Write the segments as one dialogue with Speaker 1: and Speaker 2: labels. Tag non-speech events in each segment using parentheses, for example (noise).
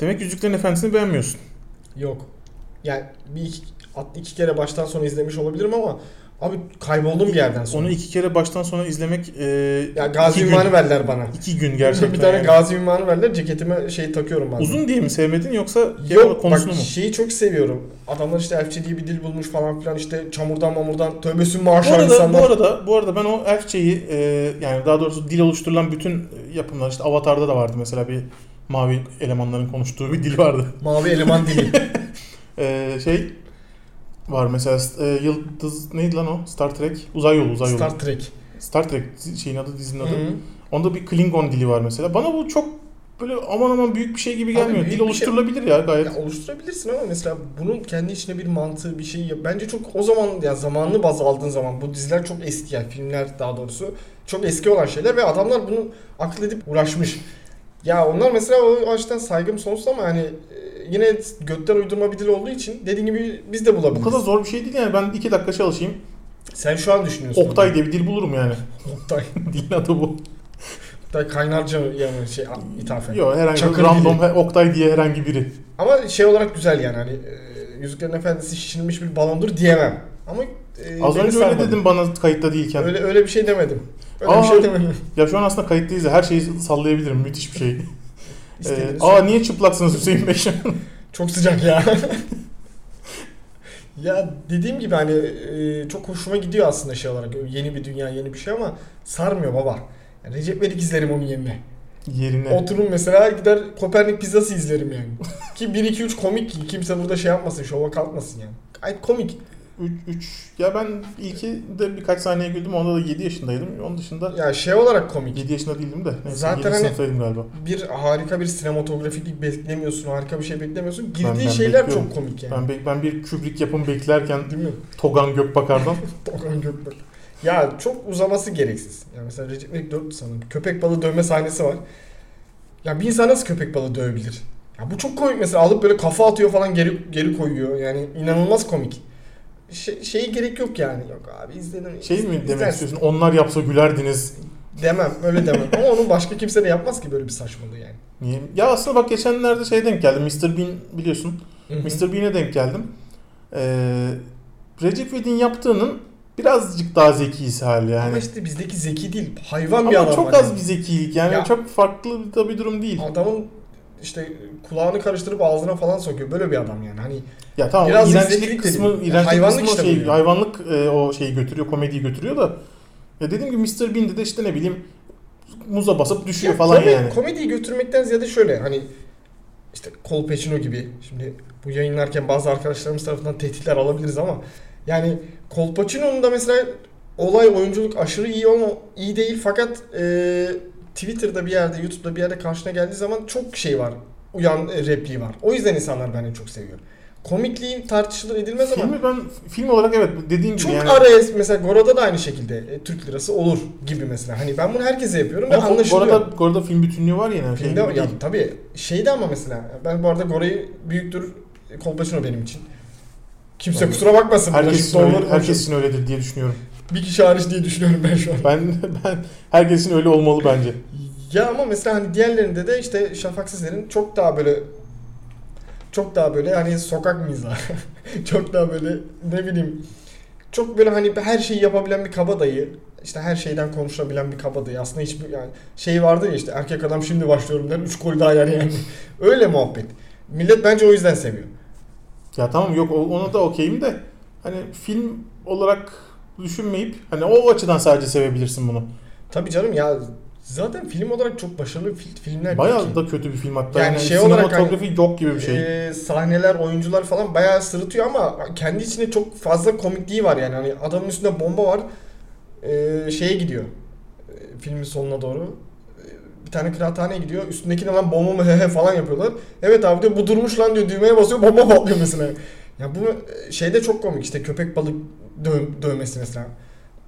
Speaker 1: Demek Yüzüklerin Efendisi'ni beğenmiyorsun.
Speaker 2: Yok. Yani bir iki, at- iki kere baştan sona izlemiş olabilirim ama abi kayboldum bir yerden sonra.
Speaker 1: Onu iki kere baştan sona izlemek e,
Speaker 2: Ya gazi
Speaker 1: iki,
Speaker 2: ünvanı
Speaker 1: gün,
Speaker 2: verdiler bana.
Speaker 1: iki gün gerçekten.
Speaker 2: (laughs) bir tane
Speaker 1: yani.
Speaker 2: gazi ünvanı verdiler. Ceketime şey takıyorum ben. de.
Speaker 1: Uzun diye mi sevmedin yoksa genel olarak
Speaker 2: Yok bak
Speaker 1: konusunu mu?
Speaker 2: şeyi çok seviyorum. Adamlar işte elfçi diye bir dil bulmuş falan filan işte çamurdan mamurdan tövbesün
Speaker 1: Bu
Speaker 2: maaşlar
Speaker 1: arada, bu
Speaker 2: insanlar.
Speaker 1: arada, bu arada ben o elfçeyi e, yani daha doğrusu dil oluşturulan bütün e, yapımlar işte Avatar'da da vardı mesela bir mavi elemanların konuştuğu bir dil vardı.
Speaker 2: Mavi eleman dili.
Speaker 1: E, şey var mesela e, yıldız neydi lan o? Star Trek. Uzay yolu, uzay yolu. Star,
Speaker 2: Star Trek.
Speaker 1: Trek şeyin adı, dizinin adı.
Speaker 2: Hı.
Speaker 1: Onda bir Klingon dili var mesela. Bana bu çok böyle aman aman büyük bir şey gibi
Speaker 2: Abi
Speaker 1: gelmiyor.
Speaker 2: büyük
Speaker 1: Dil
Speaker 2: bir
Speaker 1: oluşturulabilir ya gayet.
Speaker 2: Ya oluşturabilirsin ama mesela bunun kendi içine bir mantığı bir şey yap. Bence çok o zaman ya zamanlı baz aldığın zaman bu diziler çok eski yani filmler daha doğrusu çok eski olan şeyler ve adamlar bunu akıl edip uğraşmış. Ya onlar mesela o açıdan saygım sonsuz ama hani e, yine götten uydurma bir dil olduğu için dediğin gibi biz de
Speaker 1: Bu
Speaker 2: bulabiliriz.
Speaker 1: kadar zor bir şey değil yani. Ben iki dakika çalışayım.
Speaker 2: Sen şu an düşünüyorsun.
Speaker 1: Oktay diye bir dil bulurum yani.
Speaker 2: Oktay.
Speaker 1: (laughs) Dilin adı bu.
Speaker 2: Oktay kaynarca yani şey ithafen.
Speaker 1: Yok herhangi
Speaker 2: Çakır
Speaker 1: random he- Oktay diye herhangi biri.
Speaker 2: Ama şey olarak güzel yani hani e, Yüzüklerin Efendisi şişirilmiş bir balondur diyemem. Ama e,
Speaker 1: Az
Speaker 2: beni
Speaker 1: önce öyle
Speaker 2: sarmadı.
Speaker 1: dedim bana kayıtta değilken.
Speaker 2: Öyle öyle bir şey demedim. Öyle
Speaker 1: Aa.
Speaker 2: bir şey demedim.
Speaker 1: Ya şu an aslında kayıttayız ya her şeyi sallayabilirim. Müthiş
Speaker 2: (laughs)
Speaker 1: bir şey. Ee,
Speaker 2: İstediğiniz- şey.
Speaker 1: aa niye çıplaksınız Hüseyin Bey? (laughs)
Speaker 2: Çok sıcak ya. (laughs) ya dediğim gibi hani e, çok hoşuma gidiyor aslında şey olarak. Yeni bir dünya, yeni bir şey ama sarmıyor baba. Yani Recep İvedik izlerim onun yerine.
Speaker 1: Yerine.
Speaker 2: Oturum mesela gider Kopernik pizzası
Speaker 1: (laughs)
Speaker 2: izlerim yani. Ki 1 2 3 komik. Kimse burada şey yapmasın, şova kalkmasın yani. Gayet komik.
Speaker 1: 3 ya ben ilki de birkaç saniye güldüm. Onda da 7 yaşındaydım. Onun dışında
Speaker 2: Ya şey olarak komik.
Speaker 1: 7 yaşında değildim de. Neyse,
Speaker 2: Zaten
Speaker 1: Zaten
Speaker 2: hani-
Speaker 1: sınıftaydım galiba.
Speaker 2: Bir harika bir sinematografiklik beklemiyorsun, harika bir şey beklemiyorsun. Girdiği
Speaker 1: Ben- ben
Speaker 2: şeyler
Speaker 1: bekliyorum.
Speaker 2: çok komik yani.
Speaker 1: Ben, be- ben bir kübrik yapımı beklerken
Speaker 2: Değil mi?
Speaker 1: Togan
Speaker 2: (laughs)
Speaker 1: Gökbakar'dan
Speaker 2: Doğan Gökbel. (laughs) Ya çok uzaması gereksiz. Ya mesela Recep İvedik 4 sanırım. Köpek balığı dövme sahnesi var. Ya bir insan nasıl köpek balığı dövebilir? Ya bu çok komik mesela alıp böyle kafa atıyor falan geri geri koyuyor. Yani inanılmaz komik. Şey, şeye gerek yok yani. Yok abi izledim.
Speaker 1: şey mi demek
Speaker 2: izlersin.
Speaker 1: istiyorsun? Onlar yapsa gülerdiniz.
Speaker 2: Demem öyle demem. Ama onu başka kimse de yapmaz ki böyle bir saçmalığı yani.
Speaker 1: Niye? Ya aslında bak geçenlerde şey denk geldi. Mr. Bean biliyorsun. Mr. Bean'e denk geldim. Ee, Recep İvedik'in yaptığının birazcık daha zekisi hali yani.
Speaker 2: Ama işte bizdeki zeki değil. Hayvan bir
Speaker 1: Ama,
Speaker 2: adam hani.
Speaker 1: çok
Speaker 2: var
Speaker 1: az
Speaker 2: yani.
Speaker 1: bir zekilik yani
Speaker 2: Ya.
Speaker 1: çok farklı da bir durum değil.
Speaker 2: Adamın işte kulağını karıştırıp ağzına falan sokuyor. Böyle bir adam yani. Hani
Speaker 1: Ya tamam
Speaker 2: Birazcık
Speaker 1: iğrençlik
Speaker 2: zekilik
Speaker 1: kısmı,
Speaker 2: dedim. Ya
Speaker 1: iğrençlik
Speaker 2: hayvanlık
Speaker 1: kısmı o
Speaker 2: işte
Speaker 1: şey,
Speaker 2: bu ya.
Speaker 1: hayvanlık e, o şeyi götürüyor, komediyi götürüyor da. Ya dediğim gibi Mr. Bean'de de işte ne bileyim muza basıp düşüyor
Speaker 2: Ya
Speaker 1: Şey falan
Speaker 2: komedi-
Speaker 1: yani.
Speaker 2: Komediyi götürmekten ziyade şöyle hani işte Col Pacino gibi şimdi bu yayınlarken bazı arkadaşlarımız tarafından tehditler alabiliriz ama yani Col Pacino'nun da mesela olay oyunculuk aşırı iyi olma iyi değil fakat e, Twitter'da bir yerde YouTube'da bir yerde karşına geldiği zaman çok şey var uyan e, repliği var. O yüzden insanlar beni çok seviyor. Komikliğin tartışılır edilmez ama
Speaker 1: Filmi ben film olarak evet dediğim gibi
Speaker 2: çok
Speaker 1: yani.
Speaker 2: araya mesela Gora'da da aynı şekilde e, Türk lirası olur gibi mesela. Hani ben bunu herkese yapıyorum ve
Speaker 1: Ama bu
Speaker 2: anlaşılıyor.
Speaker 1: arada, bu arada film bütünlüğü var yani. Şey
Speaker 2: Filmde
Speaker 1: gibi
Speaker 2: ya
Speaker 1: değil.
Speaker 2: tabii şeydi ama mesela ben bu arada Gora'yı büyüktür Kolpaçino benim için. Kimse
Speaker 1: Tabii.
Speaker 2: kusura bakmasın. burada
Speaker 1: herkes
Speaker 2: şimdi
Speaker 1: için, öyle,
Speaker 2: doğruları
Speaker 1: herkes için öyledir diye düşünüyorum. (laughs)
Speaker 2: konuşuyorum. bir kişi hariç diye düşünüyorum ben şu an.
Speaker 1: Ben ben herkesin öyle olmalı bence.
Speaker 2: Ya ama mesela hani diğerlerinde de işte Şafak Sezer'in çok daha böyle çok daha böyle hani sokak mizahı. (laughs) çok daha böyle ne bileyim çok böyle hani her şeyi yapabilen bir kabadayı işte her şeyden konuşabilen bir kabadayı aslında hiçbir yani şey vardır ya işte erkek adam şimdi başlıyorum der 3 gol daha yer yani (laughs) öyle muhabbet millet bence o yüzden seviyor
Speaker 1: Ya tamam yok o- ona da okeyim de hani film olarak düşünmeyip hani o açıdan sadece sevebilirsin bunu.
Speaker 2: Tabii canım ya zaten film olarak çok başarılı fil- filmler değil
Speaker 1: Bayağı
Speaker 2: ki.
Speaker 1: da kötü bir film hatta.
Speaker 2: Yani
Speaker 1: Yani,
Speaker 2: şey olarak
Speaker 1: sinematografi yok gibi bir şey.
Speaker 2: Ee, sahneler, oyuncular falan bayağı sırıtıyor ama kendi içinde çok fazla komikliği var yani. Hani adamın üstünde bomba var. Ee, şeye gidiyor. Ee, filmin sonuna doğru. Ee, bir tane kıraathaneye gidiyor. Üstündekine lan bomba mı (laughs) he he falan yapıyorlar. Evet abi diyor bu durmuş lan diyor düğmeye basıyor bomba patlıyor mesela. Ya bu e, şeyde çok komik işte köpek balık döv- dövmesi mesela.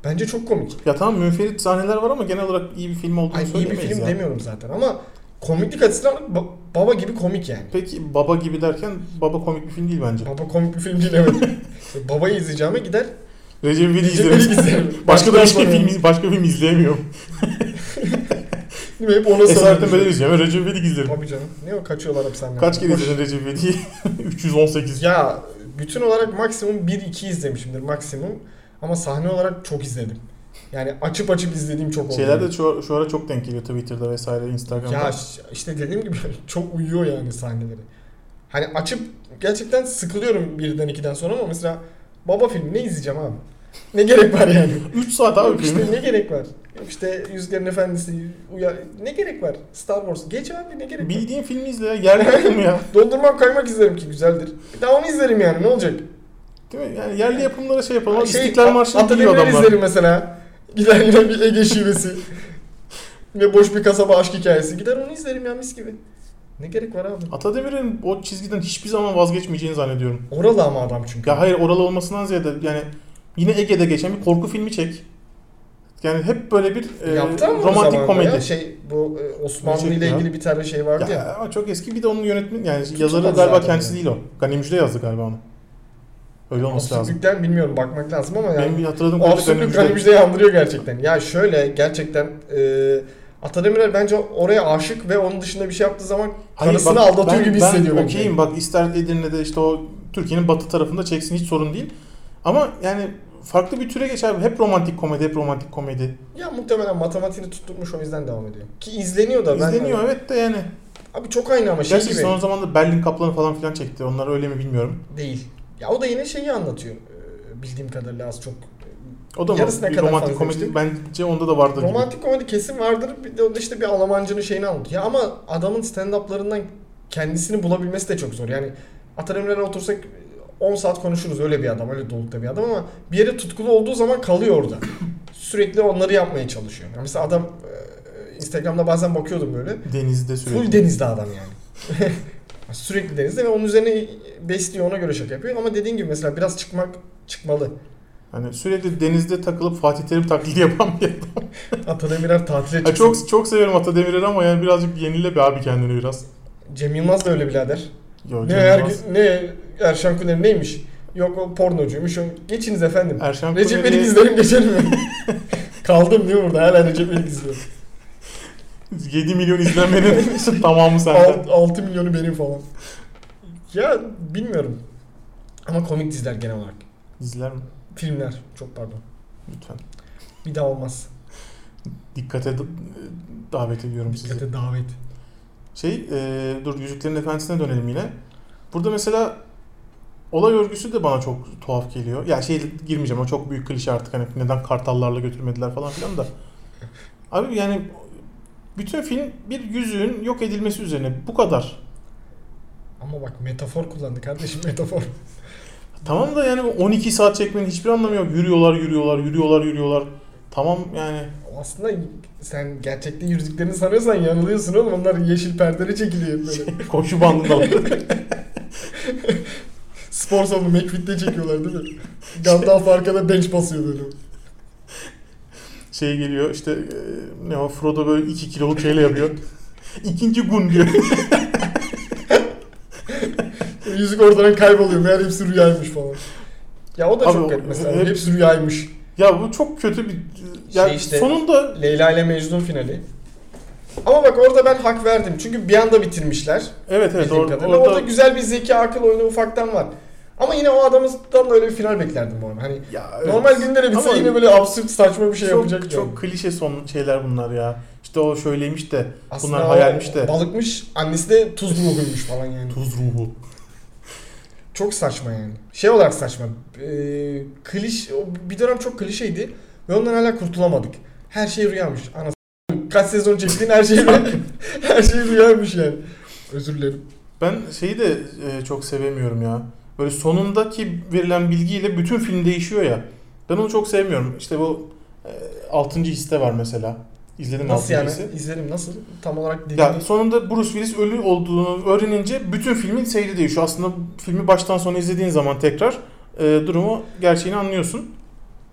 Speaker 2: Bence çok komik.
Speaker 1: ya tamam münferit sahneler var ama genel olarak iyi bir film olduğunu
Speaker 2: Ay, iyi bir
Speaker 1: söylemeyiz
Speaker 2: film
Speaker 1: ya.
Speaker 2: demiyorum zaten ama komiklik açısından ba- baba gibi komik yani.
Speaker 1: Peki Baba gibi derken Baba komik bir film değil bence.
Speaker 2: Baba komik bir film değil
Speaker 1: (laughs)
Speaker 2: evet. Babayı izleyeceğime gider
Speaker 1: Recep İvedik
Speaker 2: Recep İvedik
Speaker 1: izlerim.
Speaker 2: izlerim.
Speaker 1: (laughs) başka da bir
Speaker 2: Başka
Speaker 1: şey
Speaker 2: sonra.
Speaker 1: film, başka film izleyemiyorum.
Speaker 2: Değil mi? Hep ona
Speaker 1: Esaretten
Speaker 2: sarılıyor.
Speaker 1: beri izliyorum. Ben Recep İvedik izlerim.
Speaker 2: Tabii canım. Ne o kaçıyorlar hapishaneden.
Speaker 1: Kaç kere
Speaker 2: Boş-
Speaker 1: izledin Recep İvedik'i? (laughs) 318.
Speaker 2: Ya bütün olarak maksimum 1-2 izlemişimdir maksimum. Ama sahne olarak çok izledim. Yani açıp açıp izlediğim çok oldu.
Speaker 1: Şeyler de şu, şu ara çok denk geliyor Twitter'da vesaire Instagram'da.
Speaker 2: Ya ş- işte dediğim gibi (laughs) çok uyuyor yani sahneleri. Hani açıp gerçekten sıkılıyorum birden ikiden sonra ama mesela baba filmi ne izleyeceğim abi? Ne gerek var yani?
Speaker 1: 3 saat abi
Speaker 2: Yok işte (laughs)
Speaker 1: film.
Speaker 2: ne gerek var? Yok işte Yüzüklerin Efendisi, uya... ne gerek var? Star Wars. Geç abi ne gerek var?
Speaker 1: Bildiğin filmi izle ya. Yerli yapım ya.
Speaker 2: Dondurmam kaymak izlerim ki güzeldir. Bir daha onu izlerim yani ne olacak?
Speaker 1: Değil mi? Yani yerli yapımlara şey yapalım.
Speaker 2: Şey,
Speaker 1: İstiklal Marşı'nı biliyor
Speaker 2: Atademir'i
Speaker 1: adamlar.
Speaker 2: izlerim mesela. Gider yine bir Ege şivesi. Ve boş bir kasaba aşk hikayesi. Gider onu izlerim ya mis gibi. Ne gerek var abi?
Speaker 1: Atademir'in o çizgiden hiçbir zaman vazgeçmeyeceğini zannediyorum.
Speaker 2: Oralı ama adam çünkü.
Speaker 1: Ya hayır oralı olmasından ziyade yani yine Ege'de geçen bir korku filmi çek. Yani hep böyle bir e,
Speaker 2: Yaptı ama
Speaker 1: romantik komedi.
Speaker 2: Ya. Şey bu e, Osmanlı
Speaker 1: Ne
Speaker 2: ile
Speaker 1: çekti
Speaker 2: ilgili bir tane şey vardı ya.
Speaker 1: Ya, ama çok eski bir de onun yönetmen yani
Speaker 2: Tutulmaz
Speaker 1: yazarı galiba
Speaker 2: zaten
Speaker 1: kendisi
Speaker 2: yani.
Speaker 1: değil o. Gani Müjde yazdı galiba onu. Öyle olması lazım.
Speaker 2: Absürtlükten bilmiyorum bakmak lazım ama yani.
Speaker 1: Benim bir hatırladığım
Speaker 2: O
Speaker 1: kadarıyla Gani
Speaker 2: absürtlük
Speaker 1: Müjde.
Speaker 2: hani müjdeyi andırıyor gerçekten. Ya şöyle gerçekten e, Atademirer bence oraya aşık ve onun dışında bir şey yaptığı zaman
Speaker 1: Hayır,
Speaker 2: karısını
Speaker 1: bak, ben-
Speaker 2: aldatıyor gibi hissediyor.
Speaker 1: Ben
Speaker 2: bence.
Speaker 1: okeyim bak ister Edirne'de işte o Türkiye'nin batı tarafında çeksin hiç sorun değil. Ama yani farklı bir türe geçer. Hep romantik komedi, hep romantik komedi.
Speaker 2: Ya muhtemelen matematiğini tutturmuş o yüzden devam ediyor. Ki izleniyor da. ben- hani-
Speaker 1: İzleniyor evet de yani.
Speaker 2: Abi çok aynı ama şey
Speaker 1: Gerçi
Speaker 2: gibi
Speaker 1: son zamanlarda Berlin Kaplanı falan filan çekti. Onlar öyle mi bilmiyorum.
Speaker 2: değil. Ya o da yine şeyi anlatıyor. Ee, Bildiğim kadarıyla az çok. e,
Speaker 1: O da mı?
Speaker 2: Yarısına
Speaker 1: Bir
Speaker 2: kadar
Speaker 1: romantik
Speaker 2: fazla
Speaker 1: komedi
Speaker 2: işte.
Speaker 1: bence onda da vardır gibi.
Speaker 2: Romantik komedi kesin vardır. Bir de onda işte bir Almancının şeyini anlatıyor. Ya ama adamın stand-up'larından kendisini bulabilmesi de çok zor. Yani Atademir'e otursak 10 saat konuşuruz. Öyle bir adam, öyle dolukta bir adam ama bir yere tutkulu olduğu zaman kalıyor (laughs) orada. Sürekli onları yapmaya çalışıyor. Yani mesela adam e, Instagram'da bazen bakıyordum böyle.
Speaker 1: Denizde sürekli.
Speaker 2: Full denizde adam yani. (laughs) Sürekli denizde ve onun üzerine besliyor ona göre şaka yapıyor. Ama dediğin gibi mesela biraz çıkmak (laughs) çıkmalı.
Speaker 1: Hani sürekli denizde takılıp Fatih Terim taklidi yapan bir adam.
Speaker 2: Atademirer tatile
Speaker 1: Ya
Speaker 2: çıksın.
Speaker 1: çok çok severim Atademir'i ama yani birazcık yenile be abi kendini biraz.
Speaker 2: Cem Yılmaz da öyle birader.
Speaker 1: Yo,
Speaker 2: Ne,
Speaker 1: Cem
Speaker 2: er,
Speaker 1: Yılmaz.
Speaker 2: ne Erşan Kuner neymiş? Yok o pornocuymuş. O- Geçiniz efendim.
Speaker 1: Erşan
Speaker 2: Recep
Speaker 1: Kuner'i-
Speaker 2: İvedik izlerim geçelim
Speaker 1: (laughs)
Speaker 2: mi? Kaldım diyor burada. Hala Recep İvedik izliyorum.
Speaker 1: 7 milyon
Speaker 2: (laughs)
Speaker 1: izlenmenin işte tamamı senden.
Speaker 2: Alt, 6 milyonu benim falan. Ya bilmiyorum. Ama komik diziler genel olarak.
Speaker 1: İzler mi?
Speaker 2: Filmler. Çok pardon.
Speaker 1: Lütfen.
Speaker 2: Bir daha olmaz.
Speaker 1: Dikkate da- davet ediyorum sizi.
Speaker 2: Dikkate davet.
Speaker 1: Şey, e, dur Yüzüklerin Efendisi'ne dönelim yine. Burada mesela olay örgüsü de bana çok tuhaf geliyor. Ya şey girmeyeceğim o çok büyük klişe artık hani neden kartallarla götürmediler falan filan da. Abi yani bütün film bir yüzüğün yok edilmesi üzerine bu kadar.
Speaker 2: Ama bak metafor kullandı kardeşim metafor.
Speaker 1: Tamam da yani bu 12 saat çekmenin hiçbir anlamı yok. Yürüyorlar, yürüyorlar, yürüyorlar, yürüyorlar. Tamam yani. (laughs)
Speaker 2: Aslında sen gerçekte yürüdüklerini sanıyorsan yanılıyorsun oğlum. Onlar yeşil perdeli çekiliyor hep böyle.
Speaker 1: Koşu bandında.
Speaker 2: Spor salonu McFit'te çekiyorlar değil mi? Gandalf arkada bench basıyor böyle.
Speaker 1: şey geliyor işte e, ne o Frodo böyle 2 kiloluk şeyle yapıyor. İkinci gün diyor.
Speaker 2: Yüzük ortadan kayboluyor. Meğer hepsi rüyaymış falan. Ya o da
Speaker 1: Abi o-
Speaker 2: çok garip mesela.
Speaker 1: hep-
Speaker 2: Hepsi rüyaymış.
Speaker 1: ya bu çok kötü bir ya
Speaker 2: Şey işte-
Speaker 1: sonunda
Speaker 2: Leyla ile Mecnun finali. Ama bak orada ben hak verdim. Çünkü bir anda bitirmişler.
Speaker 1: evet evet
Speaker 2: bildiğim
Speaker 1: orada,
Speaker 2: kadarıyla.
Speaker 1: orada,
Speaker 2: orada güzel bir zeki akıl oyunu ufaktan var. Ama yine o adamdan da öyle bir final beklerdim bu arada. Hani
Speaker 1: ya, evet.
Speaker 2: normal günlere bitse
Speaker 1: Ama
Speaker 2: yine böyle absürt saçma bir şey
Speaker 1: çok,
Speaker 2: yapacak yani.
Speaker 1: çok klişe son şeyler bunlar ya. İşte o şöyleymiş de
Speaker 2: Aslında
Speaker 1: bunlar
Speaker 2: o
Speaker 1: hayalmiş de
Speaker 2: Balıkmış, annesi de tuz ruhuymuş falan yani.
Speaker 1: tuz ruhu.
Speaker 2: Çok saçma yani. Şey olarak saçma. Ee, kliş, o bir dönem çok klişeydi ve ondan hala kurtulamadık. Her şey rüyamış. Ana s- kaç sezon çektiğin her şey rüya- (laughs) her şey rüyaymış yani. Özür dilerim.
Speaker 1: Ben şeyi de e, çok sevemiyorum ya. Böyle sonundaki verilen bilgiyle bütün film değişiyor ya. Ben onu çok sevmiyorum. İşte bu e, 6. hisse var mesela. İzledim mi
Speaker 2: Nasıl
Speaker 1: 6.
Speaker 2: yani?
Speaker 1: hissi?
Speaker 2: İzledim nasıl? Tam olarak dediğini.
Speaker 1: Ya sonunda Bruce Willis ölü olduğunu öğrenince bütün filmin seyri değişiyor. Aslında filmi baştan sona izlediğin zaman tekrar e, durumu gerçeğini anlıyorsun.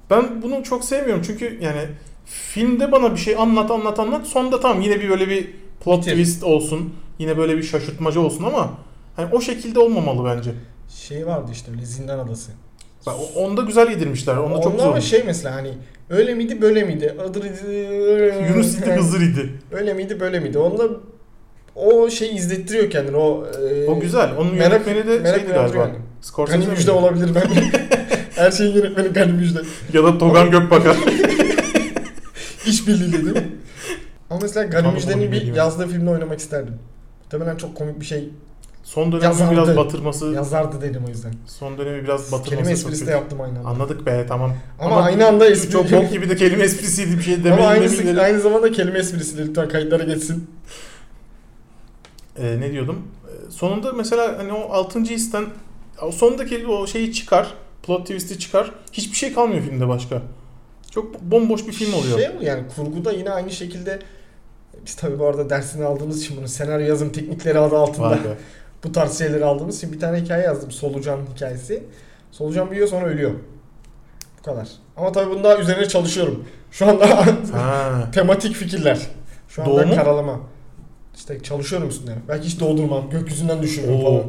Speaker 1: Ben bunu çok sevmiyorum çünkü yani filmde bana bir şey anlat anlat anlat sonda tam yine bir böyle bir plot
Speaker 2: Bitir.
Speaker 1: twist olsun. Yine böyle bir şaşırtmaca olsun ama hani o şekilde olmamalı bence.
Speaker 2: Şey vardı işte öyle zindan adası.
Speaker 1: Bak, o- Onda güzel yedirmişler. Onda çok
Speaker 2: Onlar
Speaker 1: zor.
Speaker 2: ama şey mesela hani öyle miydi böyle miydi? Adır şey-
Speaker 1: Yunus idi Hızır idi.
Speaker 2: Öyle miydi böyle miydi? Onda o şey izlettiriyor kendini. O, e,
Speaker 1: O güzel. Onun
Speaker 2: merak-
Speaker 1: yönetmeni de
Speaker 2: merak
Speaker 1: şeydi galiba.
Speaker 2: uyandırıyor yani.
Speaker 1: Scorsese
Speaker 2: Gani
Speaker 1: miydi?
Speaker 2: Müjde olabilir ben.
Speaker 1: (laughs)
Speaker 2: Her şeyin yönetmeni Gani Müjde.
Speaker 1: Ya da Togan Gökbakar.
Speaker 2: İş birliğiyle değil mi? Ama mesela Gani
Speaker 1: Tamam,
Speaker 2: Müjde'nin
Speaker 1: onu
Speaker 2: bir
Speaker 1: biliyorum.
Speaker 2: yazdığı filmde oynamak isterdim. Muhtemelen çok komik bir şey
Speaker 1: Son
Speaker 2: Yazardı.
Speaker 1: dönemi biraz batırması.
Speaker 2: yazardı dedim o yüzden.
Speaker 1: Son dönemi biraz
Speaker 2: Kelime
Speaker 1: batırması çok
Speaker 2: esprisi de
Speaker 1: kötü.
Speaker 2: yaptım aynı anda.
Speaker 1: Anladık be tamam.
Speaker 2: Ama, aynı anda espri
Speaker 1: Çok bok gibi de kelime esprisiydi bir şey demeyin
Speaker 2: Ama
Speaker 1: demeyin.
Speaker 2: aynısı, aynı zamanda kelime esprisi de lütfen kayıtlara geçsin.
Speaker 1: Ee, ne diyordum? Ee, Sonunda mesela hani o 6. histen o sondaki o şeyi çıkar. Plot twist'i çıkar. Hiçbir şey kalmıyor filmde başka. Çok bomboş bir film oluyor.
Speaker 2: Şey mi yani kurguda yine aynı şekilde biz tabii bu arada dersini aldığımız için bunu senaryo yazım teknikleri adı altında
Speaker 1: Vay be.
Speaker 2: bu tarz şeyleri aldığımız için bir tane hikaye yazdım. Solucan hikayesi. Solucan büyüyor sonra ölüyor. Bu kadar. Ama tabii bunun daha üzerine çalışıyorum. Şu anda (laughs)
Speaker 1: Ha.
Speaker 2: tematik fikirler. Şu anda
Speaker 1: Doğumu?
Speaker 2: karalama. İşte çalışıyorum üstüne. Belki hiç doğdurmam. Gökyüzünden düşürürüm
Speaker 1: Oo.
Speaker 2: falan.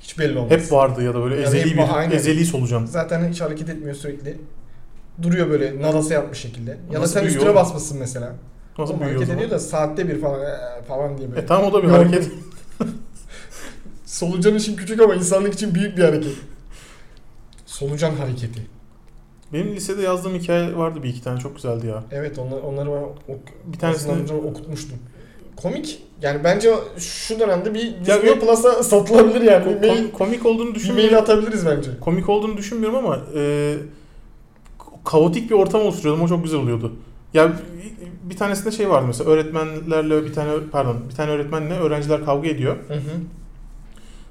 Speaker 2: Hiç belli olmaz.
Speaker 1: Hep vardı ya da böyle
Speaker 2: Yani
Speaker 1: ezeli
Speaker 2: hep var, aynen.
Speaker 1: bir ezeli solucan.
Speaker 2: Zaten hiç hareket etmiyor sürekli. Duruyor böyle nadasa yapmış şekilde. Ya da
Speaker 1: Nasıl
Speaker 2: sen
Speaker 1: büyüyor
Speaker 2: üstüne
Speaker 1: oğlum?
Speaker 2: basmışsın mesela.
Speaker 1: Nasıl
Speaker 2: Oğlum
Speaker 1: büyüyor o
Speaker 2: hareket
Speaker 1: zaman?
Speaker 2: ediyor da saatte bir falan "Ee," falan diye böyle.
Speaker 1: E tamam o da bir
Speaker 2: Yok.
Speaker 1: hareket.
Speaker 2: Solucan için küçük ama insanlık için büyük bir hareket. Solucan hareketi.
Speaker 1: Benim lisede yazdığım hikaye vardı bir iki tane çok güzeldi ya.
Speaker 2: Evet onları, onları ben ok-
Speaker 1: Bir tanesini-
Speaker 2: Aslında amcam okutmuştum. Komik. Yani yani bence şu dönemde bir Disney
Speaker 1: yok.
Speaker 2: Plus'a satılabilir yani.
Speaker 1: Ko-
Speaker 2: bir mail,
Speaker 1: kom- komik olduğunu
Speaker 2: bir mail
Speaker 1: düşünmüyorum.
Speaker 2: atabiliriz bence.
Speaker 1: Komik olduğunu düşünmüyorum ama e, kaotik bir ortam oluşturuyordum. O çok güzel oluyordu. Ya bir- bir tanesinde şey vardı mesela öğretmenlerle bir tane pardon bir tane öğretmenle öğrenciler kavga ediyor.
Speaker 2: Hı hı.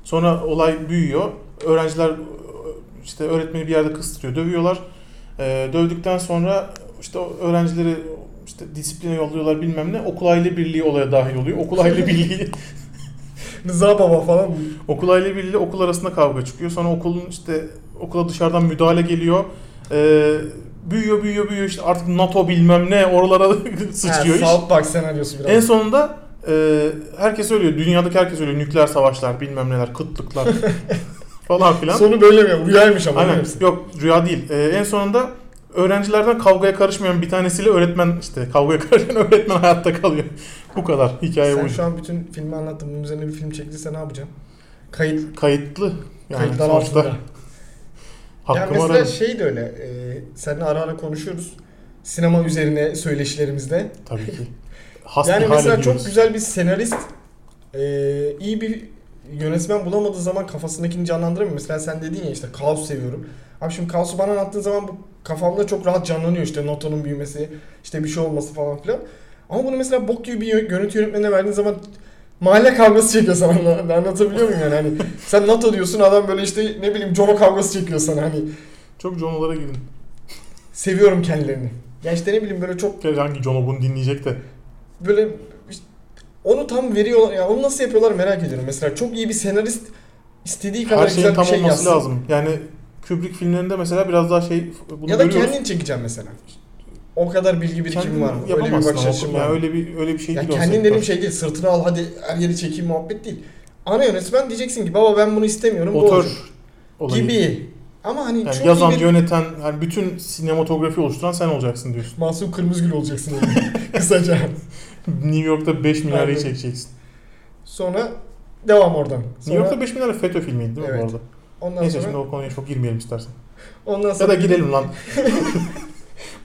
Speaker 1: Sonra olay büyüyor. Öğrenciler e, işte öğretmeni bir yerde kıstırıyor, dövüyorlar. E, dövdükten sonra işte o öğrencileri işte disipline yolluyorlar bilmem ne. Okul aile birliği olaya dahil oluyor. Okul aile birliği
Speaker 2: Rıza Baba falan.
Speaker 1: Okul aile birliği okul arasında kavga çıkıyor. Sonra okulun işte okula dışarıdan müdahale geliyor. Ee, büyüyor büyüyor büyüyor işte artık NATO bilmem ne oralara (laughs) sıçrıyor
Speaker 2: Ha,
Speaker 1: iş.
Speaker 2: South Park senaryosu biraz.
Speaker 1: En sonunda e, herkes ölüyor. Dünyadaki herkes ölüyor. Nükleer savaşlar bilmem neler
Speaker 2: (laughs)
Speaker 1: kıtlıklar falan filan.
Speaker 2: Sonu böyle mi? Rüyaymış ama.
Speaker 1: Aynen.
Speaker 2: değil mi?
Speaker 1: Yok rüya değil. Ee, en sonunda öğrencilerden kavgaya karışmayan bir tanesiyle öğretmen işte kavgaya (laughs) karışan öğretmen hayatta kalıyor. Bu kadar hikaye
Speaker 2: Sen
Speaker 1: bu.
Speaker 2: şu an bütün filmi anlattın. Bunun üzerine bir film çekilirse ne yapacağım? Kayıt,
Speaker 1: Kayıtlı. Yani
Speaker 2: kayıtlar
Speaker 1: sonuçta
Speaker 2: altında. Ya
Speaker 1: hakkımı
Speaker 2: mesela
Speaker 1: ararım.
Speaker 2: şey de öyle. E, seninle ara ara konuşuyoruz. Sinema üzerine söyleşilerimizde.
Speaker 1: Tabii
Speaker 2: (laughs)
Speaker 1: ki. Hasta
Speaker 2: yani
Speaker 1: hale
Speaker 2: mesela
Speaker 1: geliyoruz.
Speaker 2: çok güzel bir senarist e, iyi bir yönetmen bulamadığı zaman kafasındakini canlandıramıyor. Mesela sen dedin ya işte kaos seviyorum. Abi şimdi kaosu bana anlattığın zaman bu kafamda çok rahat canlanıyor işte notanın büyümesi, işte bir şey olması falan filan. Ama bunu mesela bok gibi bir yö- görüntü yönetmenine verdiğin zaman mahalle kavgası çekiyor sana. Anla- Anlatabiliyor muyum yani? Hani sen NATO diyorsun adam böyle işte ne bileyim Jono kavgası çekiyor sana hani.
Speaker 1: Çok Jono'lara gidin.
Speaker 2: Seviyorum kendilerini. Ya işte ne bileyim böyle çok
Speaker 1: Gerçi hangi Jono bunu dinleyecek de.
Speaker 2: böyle işte onu tam veriyorlar. Ya onu nasıl yapıyorlar merak ediyorum. Mesela çok iyi bir senarist istediği kadar
Speaker 1: Her
Speaker 2: güzel
Speaker 1: şeyin
Speaker 2: bir
Speaker 1: tam
Speaker 2: şey
Speaker 1: olması
Speaker 2: yazsın.
Speaker 1: lazım. Yani Kubrick filmlerinde mesela biraz daha şey bunu
Speaker 2: ya da
Speaker 1: görüyoruz.
Speaker 2: kendin çekeceğim mesela. O kadar bilgi birikimi
Speaker 1: Kendin
Speaker 2: var. mı? Öyle bir
Speaker 1: yapamazsın
Speaker 2: bakış
Speaker 1: ama.
Speaker 2: açım
Speaker 1: Yani
Speaker 2: var. mı?
Speaker 1: öyle bir öyle bir şey
Speaker 2: Ya
Speaker 1: değil o
Speaker 2: kendin
Speaker 1: sektör.
Speaker 2: dediğim şey değil. Sırtına al hadi her yeri çekeyim muhabbet değil. Ana yönetmen diyeceksin ki baba ben bunu istemiyorum. bu olacak."
Speaker 1: Otör olayı.
Speaker 2: gibi. Ama hani
Speaker 1: Yani
Speaker 2: çok
Speaker 1: yazan,
Speaker 2: iyi bir...
Speaker 1: yöneten, yani bütün sinematografi oluşturan sen olacaksın
Speaker 2: (laughs)
Speaker 1: diyorsun.
Speaker 2: Masum Kırmızıgül olacaksın. yani. (laughs) Kısaca.
Speaker 1: New York'ta 5 minareyi
Speaker 2: Aynen.
Speaker 1: çekeceksin.
Speaker 2: Sonra devam oradan. Sonra,
Speaker 1: New York'ta 5 minare FETÖ filmiydi değil mi
Speaker 2: Evet.
Speaker 1: bu arada?
Speaker 2: ondan
Speaker 1: Neyse
Speaker 2: sonra,
Speaker 1: şimdi o konuya çok girmeyelim istersen.
Speaker 2: ondan
Speaker 1: Ya
Speaker 2: sonra
Speaker 1: da girelim
Speaker 2: (laughs)
Speaker 1: lan.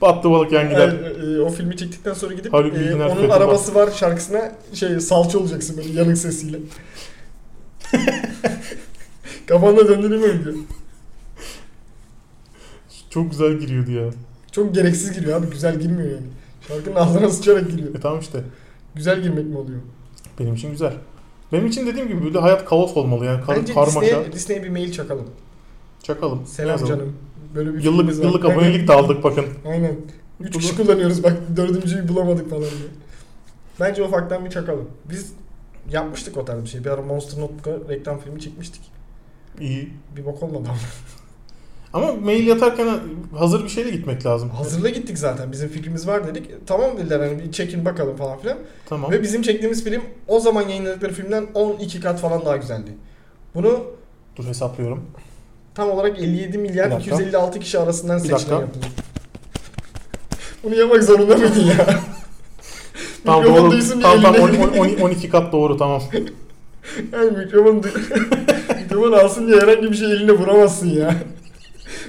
Speaker 1: Battı balık yan gider.
Speaker 2: Yani, e, o filmi çektikten sonra gidip
Speaker 1: Haluk
Speaker 2: e,
Speaker 1: Bilginer
Speaker 2: onun
Speaker 1: Fethi
Speaker 2: arabası var şarkısına şey salça olacaksın böyle yanık sesiyle. (laughs) Kafanda döndürüyor mu diyor.
Speaker 1: Çok güzel giriyordu ya.
Speaker 2: Çok gereksiz giriyor abi güzel girmiyor yani. Şarkının ağzına sıçarak giriyor.
Speaker 1: E tamam işte.
Speaker 2: Güzel girmek mi oluyor?
Speaker 1: Benim için güzel. Benim için dediğim gibi böyle hayat kaos olmalı yani. Kar,
Speaker 2: Bence
Speaker 1: karmaşa.
Speaker 2: Disney'e, Disney'e bir mail çakalım.
Speaker 1: Çakalım.
Speaker 2: Selam
Speaker 1: Yazalım.
Speaker 2: canım. Böyle
Speaker 1: Yıllık,
Speaker 2: bir filmimiz var.
Speaker 1: yıllık
Speaker 2: Aynen.
Speaker 1: abonelik de aldık bakın.
Speaker 2: Aynen. Üç
Speaker 1: Bunu-
Speaker 2: kişi kullanıyoruz bak dördüncüyü bulamadık falan diye. Bence ufaktan bir çakalım. Biz yapmıştık o tarz bir şey. Bir ara Monster Notebook'a reklam filmi çekmiştik.
Speaker 1: İyi.
Speaker 2: Bir bok olmadı ama.
Speaker 1: Ama mail yatarken hazır bir şeyle gitmek lazım.
Speaker 2: Hazırla gittik zaten. Bizim fikrimiz var dedik. Tamam dediler hani bir çekin bakalım falan filan.
Speaker 1: Tamam.
Speaker 2: Ve bizim çektiğimiz film o zaman yayınladıkları filmden 12 kat falan daha güzeldi. Bunu
Speaker 1: Dur hesaplıyorum.
Speaker 2: tam olarak 57
Speaker 1: Bir
Speaker 2: milyar
Speaker 1: dakika.
Speaker 2: 256 kişi arasından seçilen
Speaker 1: dakika.
Speaker 2: yapılır. Bunu yapmak zorunda mıydın ya?
Speaker 1: Tamam
Speaker 2: Mikrofon
Speaker 1: doğru.
Speaker 2: duysun bir
Speaker 1: Tamam tamam
Speaker 2: elini-
Speaker 1: 10 10 12 kat doğru tamam.
Speaker 2: Yani mikrofon,
Speaker 1: (laughs)
Speaker 2: du- mikrofon alsın diye herhangi bir şey eline vuramazsın ya.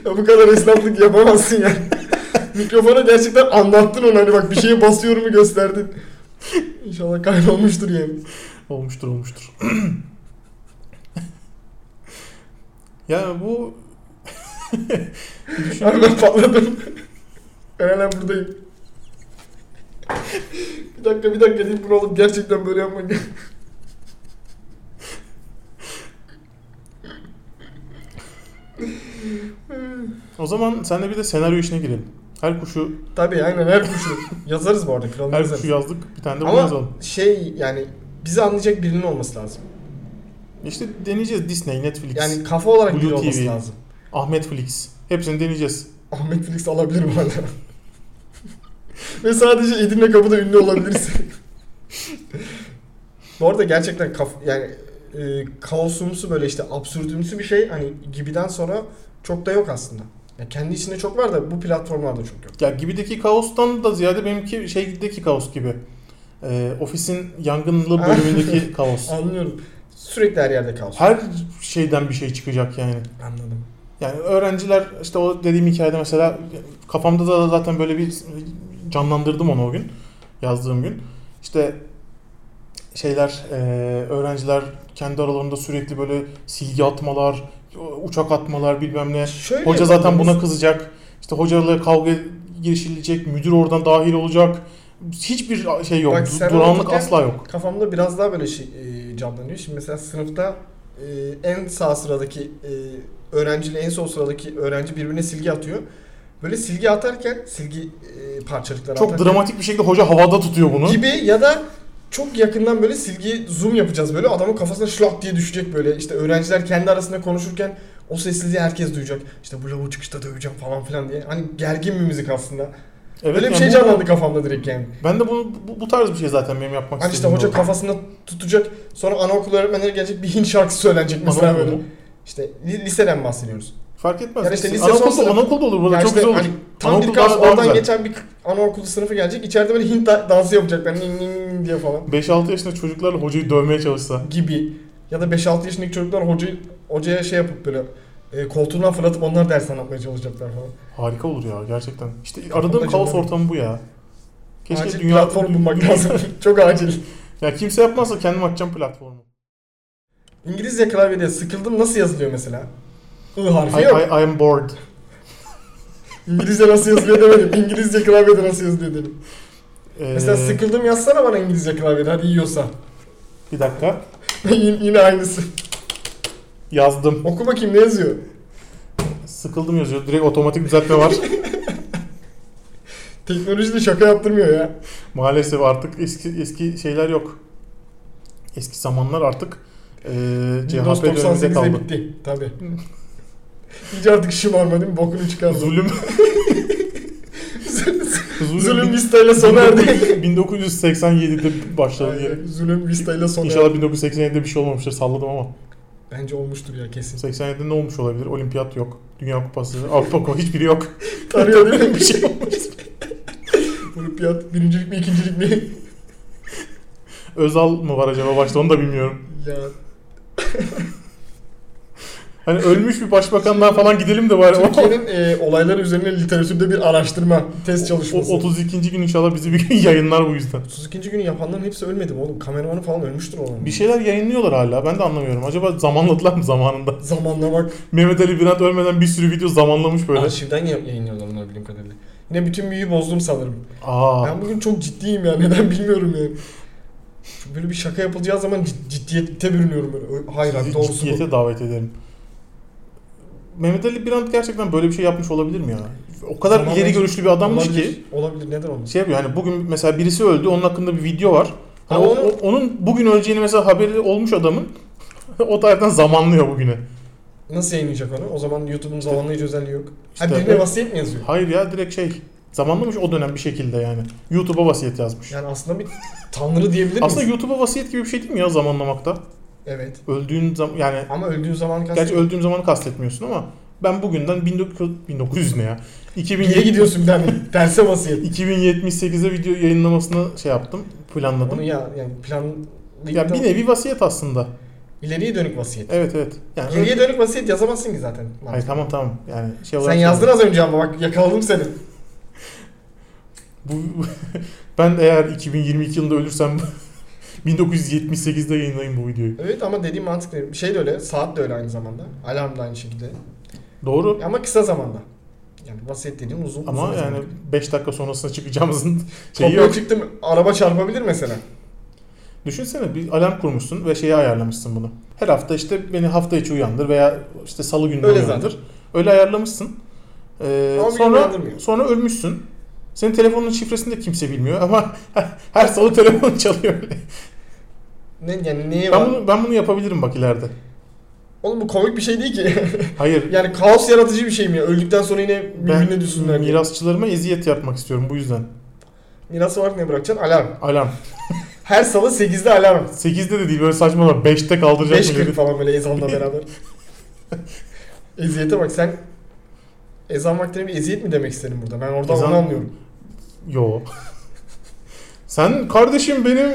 Speaker 2: Ya bu kadar esnaflık yapamazsın ya. Mikrofona gerçekten anlattın onu hani bak bir şeye basıyorumu gösterdin. İnşallah kaynolmuştur yani.
Speaker 1: Olmuştur olmuştur. (clears throat) ya bu
Speaker 2: Abi ben patladım. Ben hala buradayım. bir dakika bir dakika deyip bunu alıp gerçekten böyle yapmak.
Speaker 1: o zaman senle bir de senaryo işine girelim. Her kuşu
Speaker 2: Tabii aynen her kuşu. Yazarız bu arada kralını
Speaker 1: her
Speaker 2: yazarız.
Speaker 1: kuşu yazdık. Bir tane de bunu
Speaker 2: Ama
Speaker 1: yazalım.
Speaker 2: şey yani bizi anlayacak birinin olması lazım.
Speaker 1: İşte deneyeceğiz Disney, Netflix,
Speaker 2: Yani kafa olarak
Speaker 1: Blue
Speaker 2: biri olması
Speaker 1: TV.
Speaker 2: lazım.
Speaker 1: Ahmet Flix. Hepsini deneyeceğiz.
Speaker 2: Ahmet Felix Ah, alabilir bu arada. Ve sadece Edirne kapıda ünlü olabilirsin. bu arada gerçekten kaf yani e, kaosumsu böyle işte absürdümsü bir şey hani gibiden sonra çok da yok aslında. Ya kendi içinde çok var da bu platformlarda çok yok.
Speaker 1: Ya gibideki kaostan da ziyade benimki şeydeki kaos gibi. Ee, ofisin yangınlı bölümündeki kaos.
Speaker 2: Anlıyorum. Sürekli her yerde kaos.
Speaker 1: Her şeyden bir şey çıkacak yani.
Speaker 2: Anladım.
Speaker 1: Yani öğrenciler işte o dediğim hikayede mesela kafamda da zaten böyle bir canlandırdım onu o gün. Yazdığım gün. İşte şeyler e, öğrenciler kendi aralarında sürekli böyle silgi atmalar, uçak atmalar bilmem ne.
Speaker 2: Şöyle
Speaker 1: Hoca zaten
Speaker 2: yapalım.
Speaker 1: buna kızacak. İşte hocalarla kavga girişilecek. Müdür oradan dahil olacak. Hiçbir şey yok.
Speaker 2: Bak,
Speaker 1: du-
Speaker 2: sen
Speaker 1: Durağanlık
Speaker 2: okurken-
Speaker 1: asla yok.
Speaker 2: Kafamda biraz daha böyle şey, e, canlanıyor. Şimdi mesela sınıfta e, en sağ sıradaki e, öğrenciyle en sol sıradaki öğrenci birbirine silgi atıyor. Böyle silgi atarken silgi e, parçalıkları
Speaker 1: Çok
Speaker 2: atarken
Speaker 1: dramatik bir şekilde hoca havada tutuyor bunu.
Speaker 2: gibi ya da çok yakından böyle silgi zoom yapacağız böyle adamın kafasına şlak diye düşecek böyle işte öğrenciler kendi arasında konuşurken o sessizliği herkes duyacak. İşte bu lavuğu çıkışta döveceğim falan filan diye. Hani gergin bir müzik aslında.
Speaker 1: Evet,
Speaker 2: Böyle bir
Speaker 1: yani
Speaker 2: şey
Speaker 1: bu-
Speaker 2: canlandı kafamda direkt yani.
Speaker 1: Ben de bunu bu, bu tarz bir şey zaten benim yapmak
Speaker 2: Hani işte
Speaker 1: istediğim.
Speaker 2: hoca
Speaker 1: oldu.
Speaker 2: kafasında tutacak. Sonra anaokul öğretmenleri gelecek bir Hint şarkısı söylenecek mesela
Speaker 1: Anaokulu
Speaker 2: böyle.
Speaker 1: mu?
Speaker 2: İşte li- liseden bahsediyoruz.
Speaker 1: Fark etmez.
Speaker 2: Yani işte lise son
Speaker 1: anaokulda,
Speaker 2: sınıf-
Speaker 1: anaokulda olur burada
Speaker 2: Yani
Speaker 1: çok
Speaker 2: işte
Speaker 1: güzel olur.
Speaker 2: hani tam bir
Speaker 1: Anaokulda
Speaker 2: kas
Speaker 1: daha
Speaker 2: oradan
Speaker 1: güzel.
Speaker 2: geçen bir anaokulu sınıfı gelecek. İçeride böyle Hint da- dansı yapacaklar. Nin nin nin diye falan
Speaker 1: 5-6 yaşında çocuklarla hocayı dövmeye çalışsa.
Speaker 2: gibi. Ya da 5-6 yaşındaki çocuklar hocayı, hocaya şey yapıp böyle e, koltuğundan fırlatıp onlar ders anlatmaya çalışacaklar falan.
Speaker 1: Harika olur ya gerçekten. İşte
Speaker 2: Kafamda
Speaker 1: aradığım kaos
Speaker 2: canlandı.
Speaker 1: ortamı bu ya. Keşke
Speaker 2: acil
Speaker 1: dünya... (laughs)
Speaker 2: platform bulmak lazım. (laughs) Çok acil.
Speaker 1: Ya kimse yapmazsa kendim açacağım platformu.
Speaker 2: İngilizce klavyede sıkıldım nasıl yazılıyor mesela? I
Speaker 1: I,
Speaker 2: harfi yok.
Speaker 1: I, I am bored.
Speaker 2: İngilizce nasıl yazılıyor demedim. İngilizce klavyede nasıl yazılıyor dedim.
Speaker 1: Ee,
Speaker 2: Mesela sıkıldım yazsana bana İngilizce klavyede hadi yiyorsa. (laughs)
Speaker 1: Bir dakika.
Speaker 2: Yine yine aynısı.
Speaker 1: Yazdım.
Speaker 2: Oku bakayım ne yazıyor?
Speaker 1: Sıkıldım yazıyor. Direkt otomatik düzeltme
Speaker 2: (laughs)
Speaker 1: var.
Speaker 2: Teknoloji de şaka yaptırmıyor ya.
Speaker 1: Maalesef artık eski eski şeyler yok. Eski zamanlar artık ee,
Speaker 2: Windows
Speaker 1: CHP döneminde
Speaker 2: 98'de
Speaker 1: kaldı.
Speaker 2: bitti. Tabi. İyice artık şımarma değil mi? Bokunu çıkardım. (laughs)
Speaker 1: Zulüm.
Speaker 2: Zulüm Vista ile sona
Speaker 1: (laughs)
Speaker 2: erdi.
Speaker 1: 1987'de başladı diye.
Speaker 2: (laughs) Aynen, Zulüm Vista ile sona
Speaker 1: İnşallah
Speaker 2: erdi.
Speaker 1: 1987'de bir şey olmamıştır salladım ama.
Speaker 2: Bence olmuştur ya kesin.
Speaker 1: 87'de ne olmuş olabilir? Olimpiyat yok. Dünya Kupası, Avrupa Kupası hiçbiri yok.
Speaker 2: Tarıyor değil mi?
Speaker 1: bir şey olmuş.
Speaker 2: (laughs) Olimpiyat birincilik mi ikincilik mi?
Speaker 1: Özal mı var acaba başta onu da bilmiyorum.
Speaker 2: ya
Speaker 1: Hani ölmüş bir başbakanlığa falan gidelim de bari. O,
Speaker 2: Türkiye'nin e, olaylar üzerine literatürde bir araştırma, test çalışması.
Speaker 1: o 32. gün inşallah bizi bir gün (laughs) yayınlar bu yüzden.
Speaker 2: 32. günü yapanların hepsi ölmedi mi oğlum? Kameramanı falan ölmüştür oğlum.
Speaker 1: Bir şey- şeyler yayınlıyorlar hala. Ben de anlamıyorum. Acaba zamanladılar mı zamanında? (laughs)
Speaker 2: Zamanlamak.
Speaker 1: Mehmet Ali Birant ölmeden bir sürü video zamanlamış böyle.
Speaker 2: Arşivden ya- yayınlıyorlar bunlar bildiğim kadarıyla. Yine bütün büyüyü bozdum sanırım.
Speaker 1: Aa.
Speaker 2: Ben bugün çok ciddiyim ya (laughs) neden bilmiyorum ya. Şu Böyle bir şaka yapılacağı zaman cid- ciddiyete bürünüyorum böyle. Ö- Hayır abi
Speaker 1: sizi
Speaker 2: doğrusu bu.
Speaker 1: ciddiyete davet ederim. Mehmet Ali Birant gerçekten böyle bir şey yapmış olabilir mi ya? O kadar
Speaker 2: Zamanla-
Speaker 1: ileri görüşlü bir adammış
Speaker 2: olabilir,
Speaker 1: ki
Speaker 2: Olabilir neden olmasın.
Speaker 1: şey yapıyor hani bugün mesela birisi öldü onun hakkında bir video var. Hani o-
Speaker 2: Ama onu-
Speaker 1: o- onun bugün öleceğini mesela haberi olmuş adamın (laughs) o tarihten zamanlıyor bugüne.
Speaker 2: Nasıl yayınlayacak onu? O zaman YouTube'un zamanlayıcı özelliği yok.
Speaker 1: İşte
Speaker 2: ha birine
Speaker 1: o-
Speaker 2: vasiyet mi yazıyor?
Speaker 1: Hayır ya direkt şey zamanlamış o dönem bir şekilde yani. YouTube'a vasiyet yazmış.
Speaker 2: Yani aslında bir tanrı diyebilir miyiz?
Speaker 1: Aslında YouTube'a vasiyet gibi bir şey değil mi ya zamanlamakta?
Speaker 2: Evet.
Speaker 1: Öldüğün zaman yani
Speaker 2: Ama öldüğün zaman
Speaker 1: gerçi
Speaker 2: kastediyor.
Speaker 1: öldüğüm zamanı kastetmiyorsun ama Ben bugünden 1900, 1900 ne ya? 2000,
Speaker 2: Niye gidiyorsun bir tane?
Speaker 1: (laughs)
Speaker 2: Terse vasiyet.
Speaker 1: 2078'e video yayınlamasını şey yaptım, planladım.
Speaker 2: Onu ya yani plan
Speaker 1: ya bir nevi vasiyet aslında.
Speaker 2: ileriye dönük vasiyet.
Speaker 1: Evet evet. Yani şey
Speaker 2: Geriye dönük vasiyet yazamazsın ki zaten.
Speaker 1: Hayır tamam tamam. Yani şey
Speaker 2: Sen
Speaker 1: olarak
Speaker 2: yazdın az önce ama bak yakaladım seni.
Speaker 1: Bu, (laughs) ben eğer 2022 yılında ölürsem (laughs) 1978'de yayınlayayım bu videoyu.
Speaker 2: Evet ama dediğim mantıklı. Şey de öyle, saat de öyle aynı zamanda. Alarm da aynı şekilde.
Speaker 1: Doğru.
Speaker 2: Ama kısa zamanda. Yani vasiyet dediğim uzun
Speaker 1: Ama
Speaker 2: uzun
Speaker 1: yani
Speaker 2: zamanda.
Speaker 1: 5 dakika sonrasına
Speaker 2: (laughs)
Speaker 1: çıkacağımızın şeyi
Speaker 2: Kapıya
Speaker 1: yok.
Speaker 2: çıktım araba çarpabilir mesela.
Speaker 1: Düşünsene bir alarm kurmuşsun ve şeyi ayarlamışsın bunu. Her hafta işte beni hafta içi uyandır veya işte salı günü
Speaker 2: Öyle
Speaker 1: uyandır. Öyle ayarlamışsın. Ee,
Speaker 2: Ama beni
Speaker 1: sonra
Speaker 2: uyandırmıyor.
Speaker 1: sonra ölmüşsün. Senin telefonun şifresini de kimse bilmiyor ama (laughs) her salı telefon çalıyor.
Speaker 2: Ne, yani neye
Speaker 1: ben
Speaker 2: var?
Speaker 1: bunu ben bunu yapabilirim bak ileride.
Speaker 2: Oğlum bu komik bir şey değil ki. (laughs)
Speaker 1: Hayır.
Speaker 2: yani kaos yaratıcı bir şey mi? ya? Öldükten sonra yine birbirine
Speaker 1: Ben
Speaker 2: düşsünler. diye.
Speaker 1: mirasçılarıma eziyet yapmak istiyorum bu yüzden.
Speaker 2: Mirası olarak ne bırakacaksın? Alarm.
Speaker 1: Alarm.
Speaker 2: Her salı 8'de alarm.
Speaker 1: 8'de de değil böyle saçmalama 5'te kaldıracak
Speaker 2: 5
Speaker 1: milleri.
Speaker 2: gün falan böyle
Speaker 1: (laughs)
Speaker 2: ezanla beraber. Eziyete bak sen ezan vaktine bir eziyet mi demek istedin burada? Ben oradan
Speaker 1: Ezan-
Speaker 2: onu anlıyorum.
Speaker 1: Yo. (laughs) Sen kardeşim benim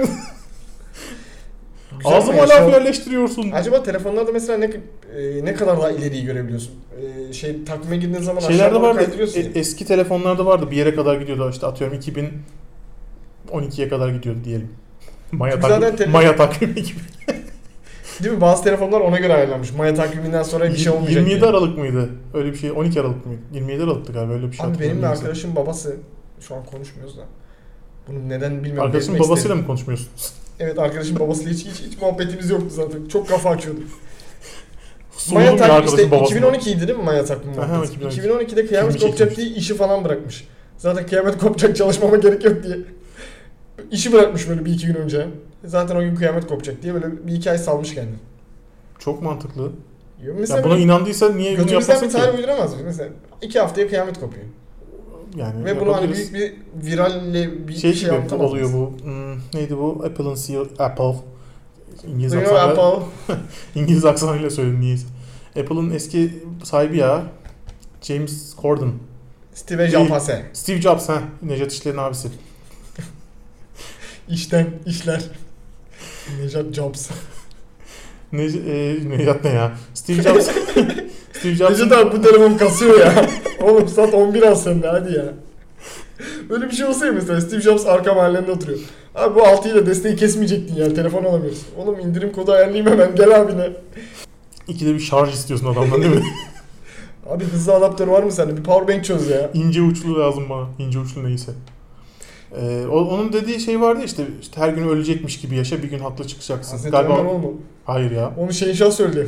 Speaker 2: Güzel ama
Speaker 1: ağzıma
Speaker 2: ya,
Speaker 1: laf
Speaker 2: şu-
Speaker 1: yerleştiriyorsun.
Speaker 2: Acaba telefonlarda mesela ne e, ne kadar daha ileriyi görebiliyorsun? E, şey takvime girdiğin zaman
Speaker 1: Şeylerde
Speaker 2: aşağıdan
Speaker 1: vardı.
Speaker 2: kaydırıyorsun. ya.
Speaker 1: e- eski telefonlarda vardı. Bir yere kadar gidiyordu. işte atıyorum 2012'ye kadar gidiyordu diyelim. (laughs) Maya,
Speaker 2: Çünkü zaten
Speaker 1: takvim,
Speaker 2: tele-
Speaker 1: Maya takvimi gibi. e-
Speaker 2: Değil mi? Bazı telefonlar ona göre ayarlanmış. Maya takviminden sonra bir şey olmayacak.
Speaker 1: 27
Speaker 2: diye.
Speaker 1: Aralık mıydı? Öyle bir şey. 12 Aralık mıydı? 27 Aralık'tı galiba öyle bir şey.
Speaker 2: Abi benim de
Speaker 1: hatırlamıyorum.
Speaker 2: arkadaşım babası şu an konuşmuyoruz da. Bunu neden bilmiyorum.
Speaker 1: Arkadaşın
Speaker 2: belirtmek
Speaker 1: babasıyla
Speaker 2: isterim.
Speaker 1: mı konuşmuyorsunuz?
Speaker 2: Evet arkadaşım babasıyla hiç, hiç, hiç muhabbetimiz yoktu zaten. Çok kafa açıyordu.
Speaker 1: Sordum
Speaker 2: Maya
Speaker 1: ya
Speaker 2: takvim işte
Speaker 1: arkadaşın babasına.
Speaker 2: 2012 idi değil mi Maya takvimi
Speaker 1: Aha,
Speaker 2: muhabbeti?
Speaker 1: 2012.
Speaker 2: 2012'de kıyamet
Speaker 1: 22
Speaker 2: kopacak diye işi falan bırakmış. Zaten kıyamet kopacak çalışmama gerek yok diye. İşi bırakmış böyle bir iki gün önce. Zaten o gün kıyamet kopacak diye böyle bir iki ay salmış kendini.
Speaker 1: Çok mantıklı.
Speaker 2: Mesela
Speaker 1: Ya buna inandıysa niye bunu
Speaker 2: götümüzden
Speaker 1: yapmasın
Speaker 2: bir
Speaker 1: ki?
Speaker 2: tarih uyduramaz mıyız? Mesela iki haftaya kıyamet kopuyor.
Speaker 1: Yani
Speaker 2: Ve bunu hani
Speaker 1: yapabiliriz.
Speaker 2: büyük bir viralle bir
Speaker 1: şey,
Speaker 2: şey,
Speaker 1: gibi
Speaker 2: yaptı
Speaker 1: oluyor bu. Hmm, neydi bu? Apple'ın CEO Apple. İngiliz
Speaker 2: Duyuyor
Speaker 1: aksanıyla,
Speaker 2: Apple.
Speaker 1: İngiliz aksanıyla söyledim niyeyse. Apple'ın eski sahibi ya. James Corden.
Speaker 2: Steve
Speaker 1: Değil.
Speaker 2: Jampase.
Speaker 1: Steve Jobs ha. Nejat İşler'in abisi.
Speaker 2: İşten,
Speaker 1: (laughs)
Speaker 2: işler. Nejat Jobs.
Speaker 1: Ne, e, Nejat ne ya? Steve
Speaker 2: (laughs)
Speaker 1: Jobs. Steve Jobs.
Speaker 2: Necdet abi bu telefon kasıyor ya. (laughs) Oğlum saat 11 al sen de hadi ya. Böyle bir şey olsaydı mesela Steve Jobs arka mahallende oturuyor. Abi bu 6'yı da desteği kesmeyecektin yani telefon alamıyoruz. Oğlum indirim kodu ayarlayayım hemen gel abine.
Speaker 1: İkide bir şarj istiyorsun adamdan değil mi?
Speaker 2: Abi hızlı adaptör var mı sende? Bir powerbank çöz ya.
Speaker 1: İnce uçlu lazım bana. İnce uçlu neyse. Ee, o- onun dediği şey vardı ya işte, işte her gün ölecekmiş gibi yaşa bir gün haklı çıkacaksın.
Speaker 2: Hazreti
Speaker 1: Galiba
Speaker 2: Ömer olma.
Speaker 1: hayır ya.
Speaker 2: Onu
Speaker 1: (laughs)
Speaker 2: Şenşah söylüyor.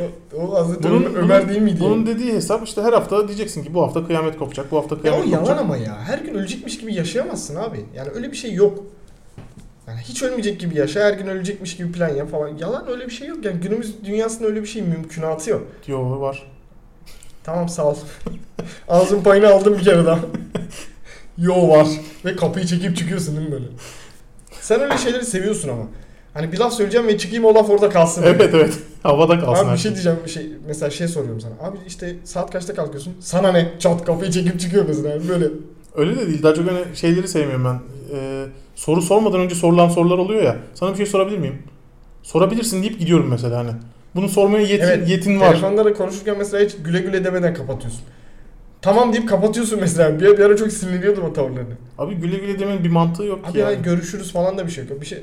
Speaker 2: o, o Hazreti
Speaker 1: Bunun-
Speaker 2: Ömer, Ömer değil miydi?
Speaker 1: Bunun dediği hesap işte her hafta diyeceksin ki bu hafta kıyamet kopacak, bu hafta
Speaker 2: Ya o
Speaker 1: kıyamet
Speaker 2: yalan
Speaker 1: kopacak.
Speaker 2: ama ya. Her gün ölecekmiş gibi yaşayamazsın abi. Yani öyle bir şey yok. Yani hiç ölmeyecek gibi yaşa, her gün ölecekmiş gibi plan yap falan. Yalan öyle bir şey yok. Yani günümüz dünyasında öyle bir şey mümkünatı yok.
Speaker 1: Yo var.
Speaker 2: Tamam sağ ol. (laughs) Ağzın payını aldım bir kere daha. (laughs) Yo var. Ve kapıyı çekip çıkıyorsun değil mi böyle? Sen öyle şeyleri seviyorsun ama. Hani bir laf söyleyeceğim ve çıkayım o laf orada kalsın.
Speaker 1: Evet evet. (laughs) Havada kalsın.
Speaker 2: Abi
Speaker 1: her
Speaker 2: bir şey diyeceğim bir şey mesela şey soruyorum sana. Abi işte saat kaçta kalkıyorsun? Sana ne? Çat kapıyı çekip çıkıyor mesela yani böyle.
Speaker 1: Öyle de değil. Daha çok hani şeyleri sevmiyorum ben. Ee, soru sormadan önce sorulan sorular oluyor ya. Sana bir şey sorabilir miyim? Sorabilirsin deyip gidiyorum mesela hani. Bunu sormaya yetin,
Speaker 2: Evet,
Speaker 1: yetin var.
Speaker 2: Telefonlara konuşurken mesela hiç güle güle demeden kapatıyorsun. Tamam deyip kapatıyorsun mesela. Bir, bir ara çok sinirliyordum o tavırlarını.
Speaker 1: Abi güle güle demenin bir mantığı yok
Speaker 2: Abi
Speaker 1: ki yani.
Speaker 2: ya görüşürüz falan da bir şey yok. Bir şey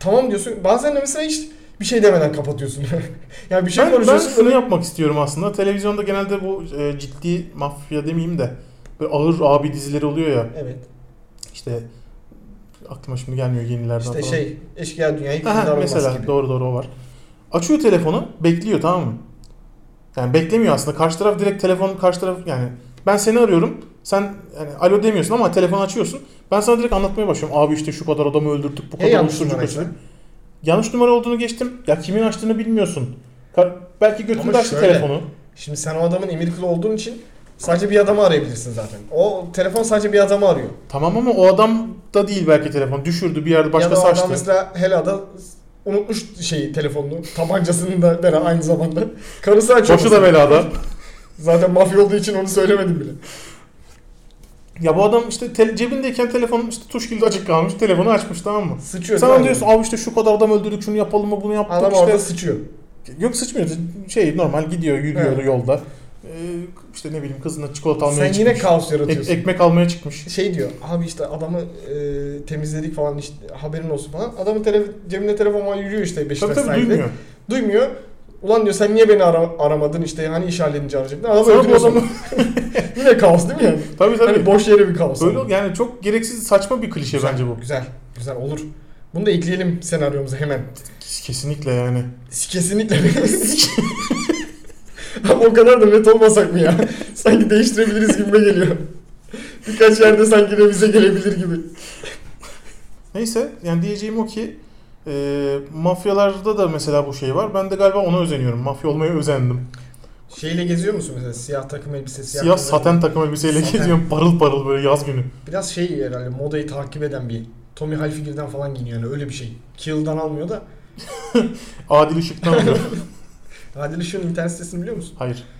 Speaker 2: tamam diyorsun. Bazen de mesela hiç bir şey demeden kapatıyorsun. (laughs) yani bir şey
Speaker 1: ben, ben
Speaker 2: konuşuyorsun.
Speaker 1: şunu
Speaker 2: böyle-
Speaker 1: yapmak istiyorum aslında. Televizyonda genelde bu e, ciddi mafya demeyeyim de böyle ağır abi dizileri oluyor ya.
Speaker 2: Evet.
Speaker 1: İşte aklıma şimdi gelmiyor yenilerden
Speaker 2: İşte
Speaker 1: falan.
Speaker 2: şey eşkıya dünyayı
Speaker 1: Aha,
Speaker 2: hükümdar olmaz
Speaker 1: mesela
Speaker 2: gibi.
Speaker 1: doğru doğru o var. Açıyor telefonu, bekliyor tamam mı? Yani beklemiyor aslında. Karşı taraf direkt telefon karşı taraf yani ben seni arıyorum. Sen yani alo demiyorsun ama telefon açıyorsun. Ben sana direkt anlatmaya başlıyorum. Abi işte şu kadar adamı öldürttük, bu
Speaker 2: Ya
Speaker 1: kadar
Speaker 2: yanlış
Speaker 1: uyuşturucu
Speaker 2: numara
Speaker 1: kaçırdık. Yanlış numara olduğunu geçtim. Ya kimin açtığını bilmiyorsun. Ka- belki götünde
Speaker 2: Ama
Speaker 1: açtı
Speaker 2: şöyle.
Speaker 1: telefonu.
Speaker 2: Şimdi sen o adamın emir kulu olduğun için sadece bir adamı arayabilirsin zaten. O telefon sadece bir adamı arıyor.
Speaker 1: Tamam ama o adam da değil belki telefon. Düşürdü bir yerde
Speaker 2: ya da
Speaker 1: başkası
Speaker 2: o adam
Speaker 1: açtı.
Speaker 2: mesela helada unutmuş şeyi telefonunu. Tabancasını da (laughs) beraber aynı zamanda. Karısı açıyor.
Speaker 1: Boşu da
Speaker 2: mesela.
Speaker 1: belada.
Speaker 2: Zaten mafya olduğu için onu söylemedim bile.
Speaker 1: Ya bu adam işte te- cebindeyken telefonun işte tuş kilidi açık kalmış. Telefonu açmış tamam mı?
Speaker 2: Sıçıyor. değil
Speaker 1: Sen
Speaker 2: mi?
Speaker 1: diyorsun abi işte şu kadar adam öldürdük şunu yapalım mı bunu yaptık
Speaker 2: Adam
Speaker 1: işte.
Speaker 2: orada sıçıyor.
Speaker 1: Yok sıçmıyor. Şey normal gidiyor yürüyor
Speaker 2: Evet.
Speaker 1: yolda. Ee, işte ne bileyim kızına çikolata almaya
Speaker 2: Sen
Speaker 1: çıkmış.
Speaker 2: yine kaos
Speaker 1: Ek-
Speaker 2: yaratıyorsun.
Speaker 1: ekmek almaya çıkmış.
Speaker 2: şey diyor abi işte adamı e, temizledik falan işte, haberin olsun falan. Adamın tele- cebinde telefon var yürüyor işte
Speaker 1: Tabii
Speaker 2: Beşiktaş
Speaker 1: tabii
Speaker 2: sahilde.
Speaker 1: duymuyor.
Speaker 2: Duymuyor. Ulan diyor sen niye beni ara- aramadın işte hani iş halledince arayacaktın. Adamı
Speaker 1: Sonra bu
Speaker 2: öldürüyorsun.
Speaker 1: adamı-
Speaker 2: (laughs) Yine kaos değil mi yani?
Speaker 1: Tabii tabii.
Speaker 2: Hani boş yere bir kaos.
Speaker 1: Böyle
Speaker 2: Ama.
Speaker 1: yani çok gereksiz saçma bir klişe
Speaker 2: Güzel,
Speaker 1: bence bu.
Speaker 2: Güzel. Güzel olur. Bunu da ekleyelim senaryomuza hemen.
Speaker 1: Kesinlikle yani.
Speaker 2: Kesinlikle. (laughs) Ama o kadar da net olmasak mı ya? (laughs) Sanki değiştirebiliriz gibime geliyor. Birkaç yerde sanki revize gelebilir gibi.
Speaker 1: Neyse yani diyeceğim o ki e, mafyalarda da mesela bu şey var. Ben de galiba ona özeniyorum. Mafya olmaya özendim.
Speaker 2: Şeyle geziyor musun mesela siyah takım elbise,
Speaker 1: Siyah,
Speaker 2: takım elbise?
Speaker 1: saten takım elbiseyle
Speaker 2: Saten.
Speaker 1: geziyorum parıl parıl böyle yaz günü.
Speaker 2: Biraz şey herhalde modayı takip eden bir Tommy Hilfiger'den falan giyiniyor yani öyle bir şey. Kill'dan almıyor da.
Speaker 1: Adil Işık'tan oluyor.
Speaker 2: (laughs) Adil Işık'ın internet sitesini biliyor musun?
Speaker 1: Hayır.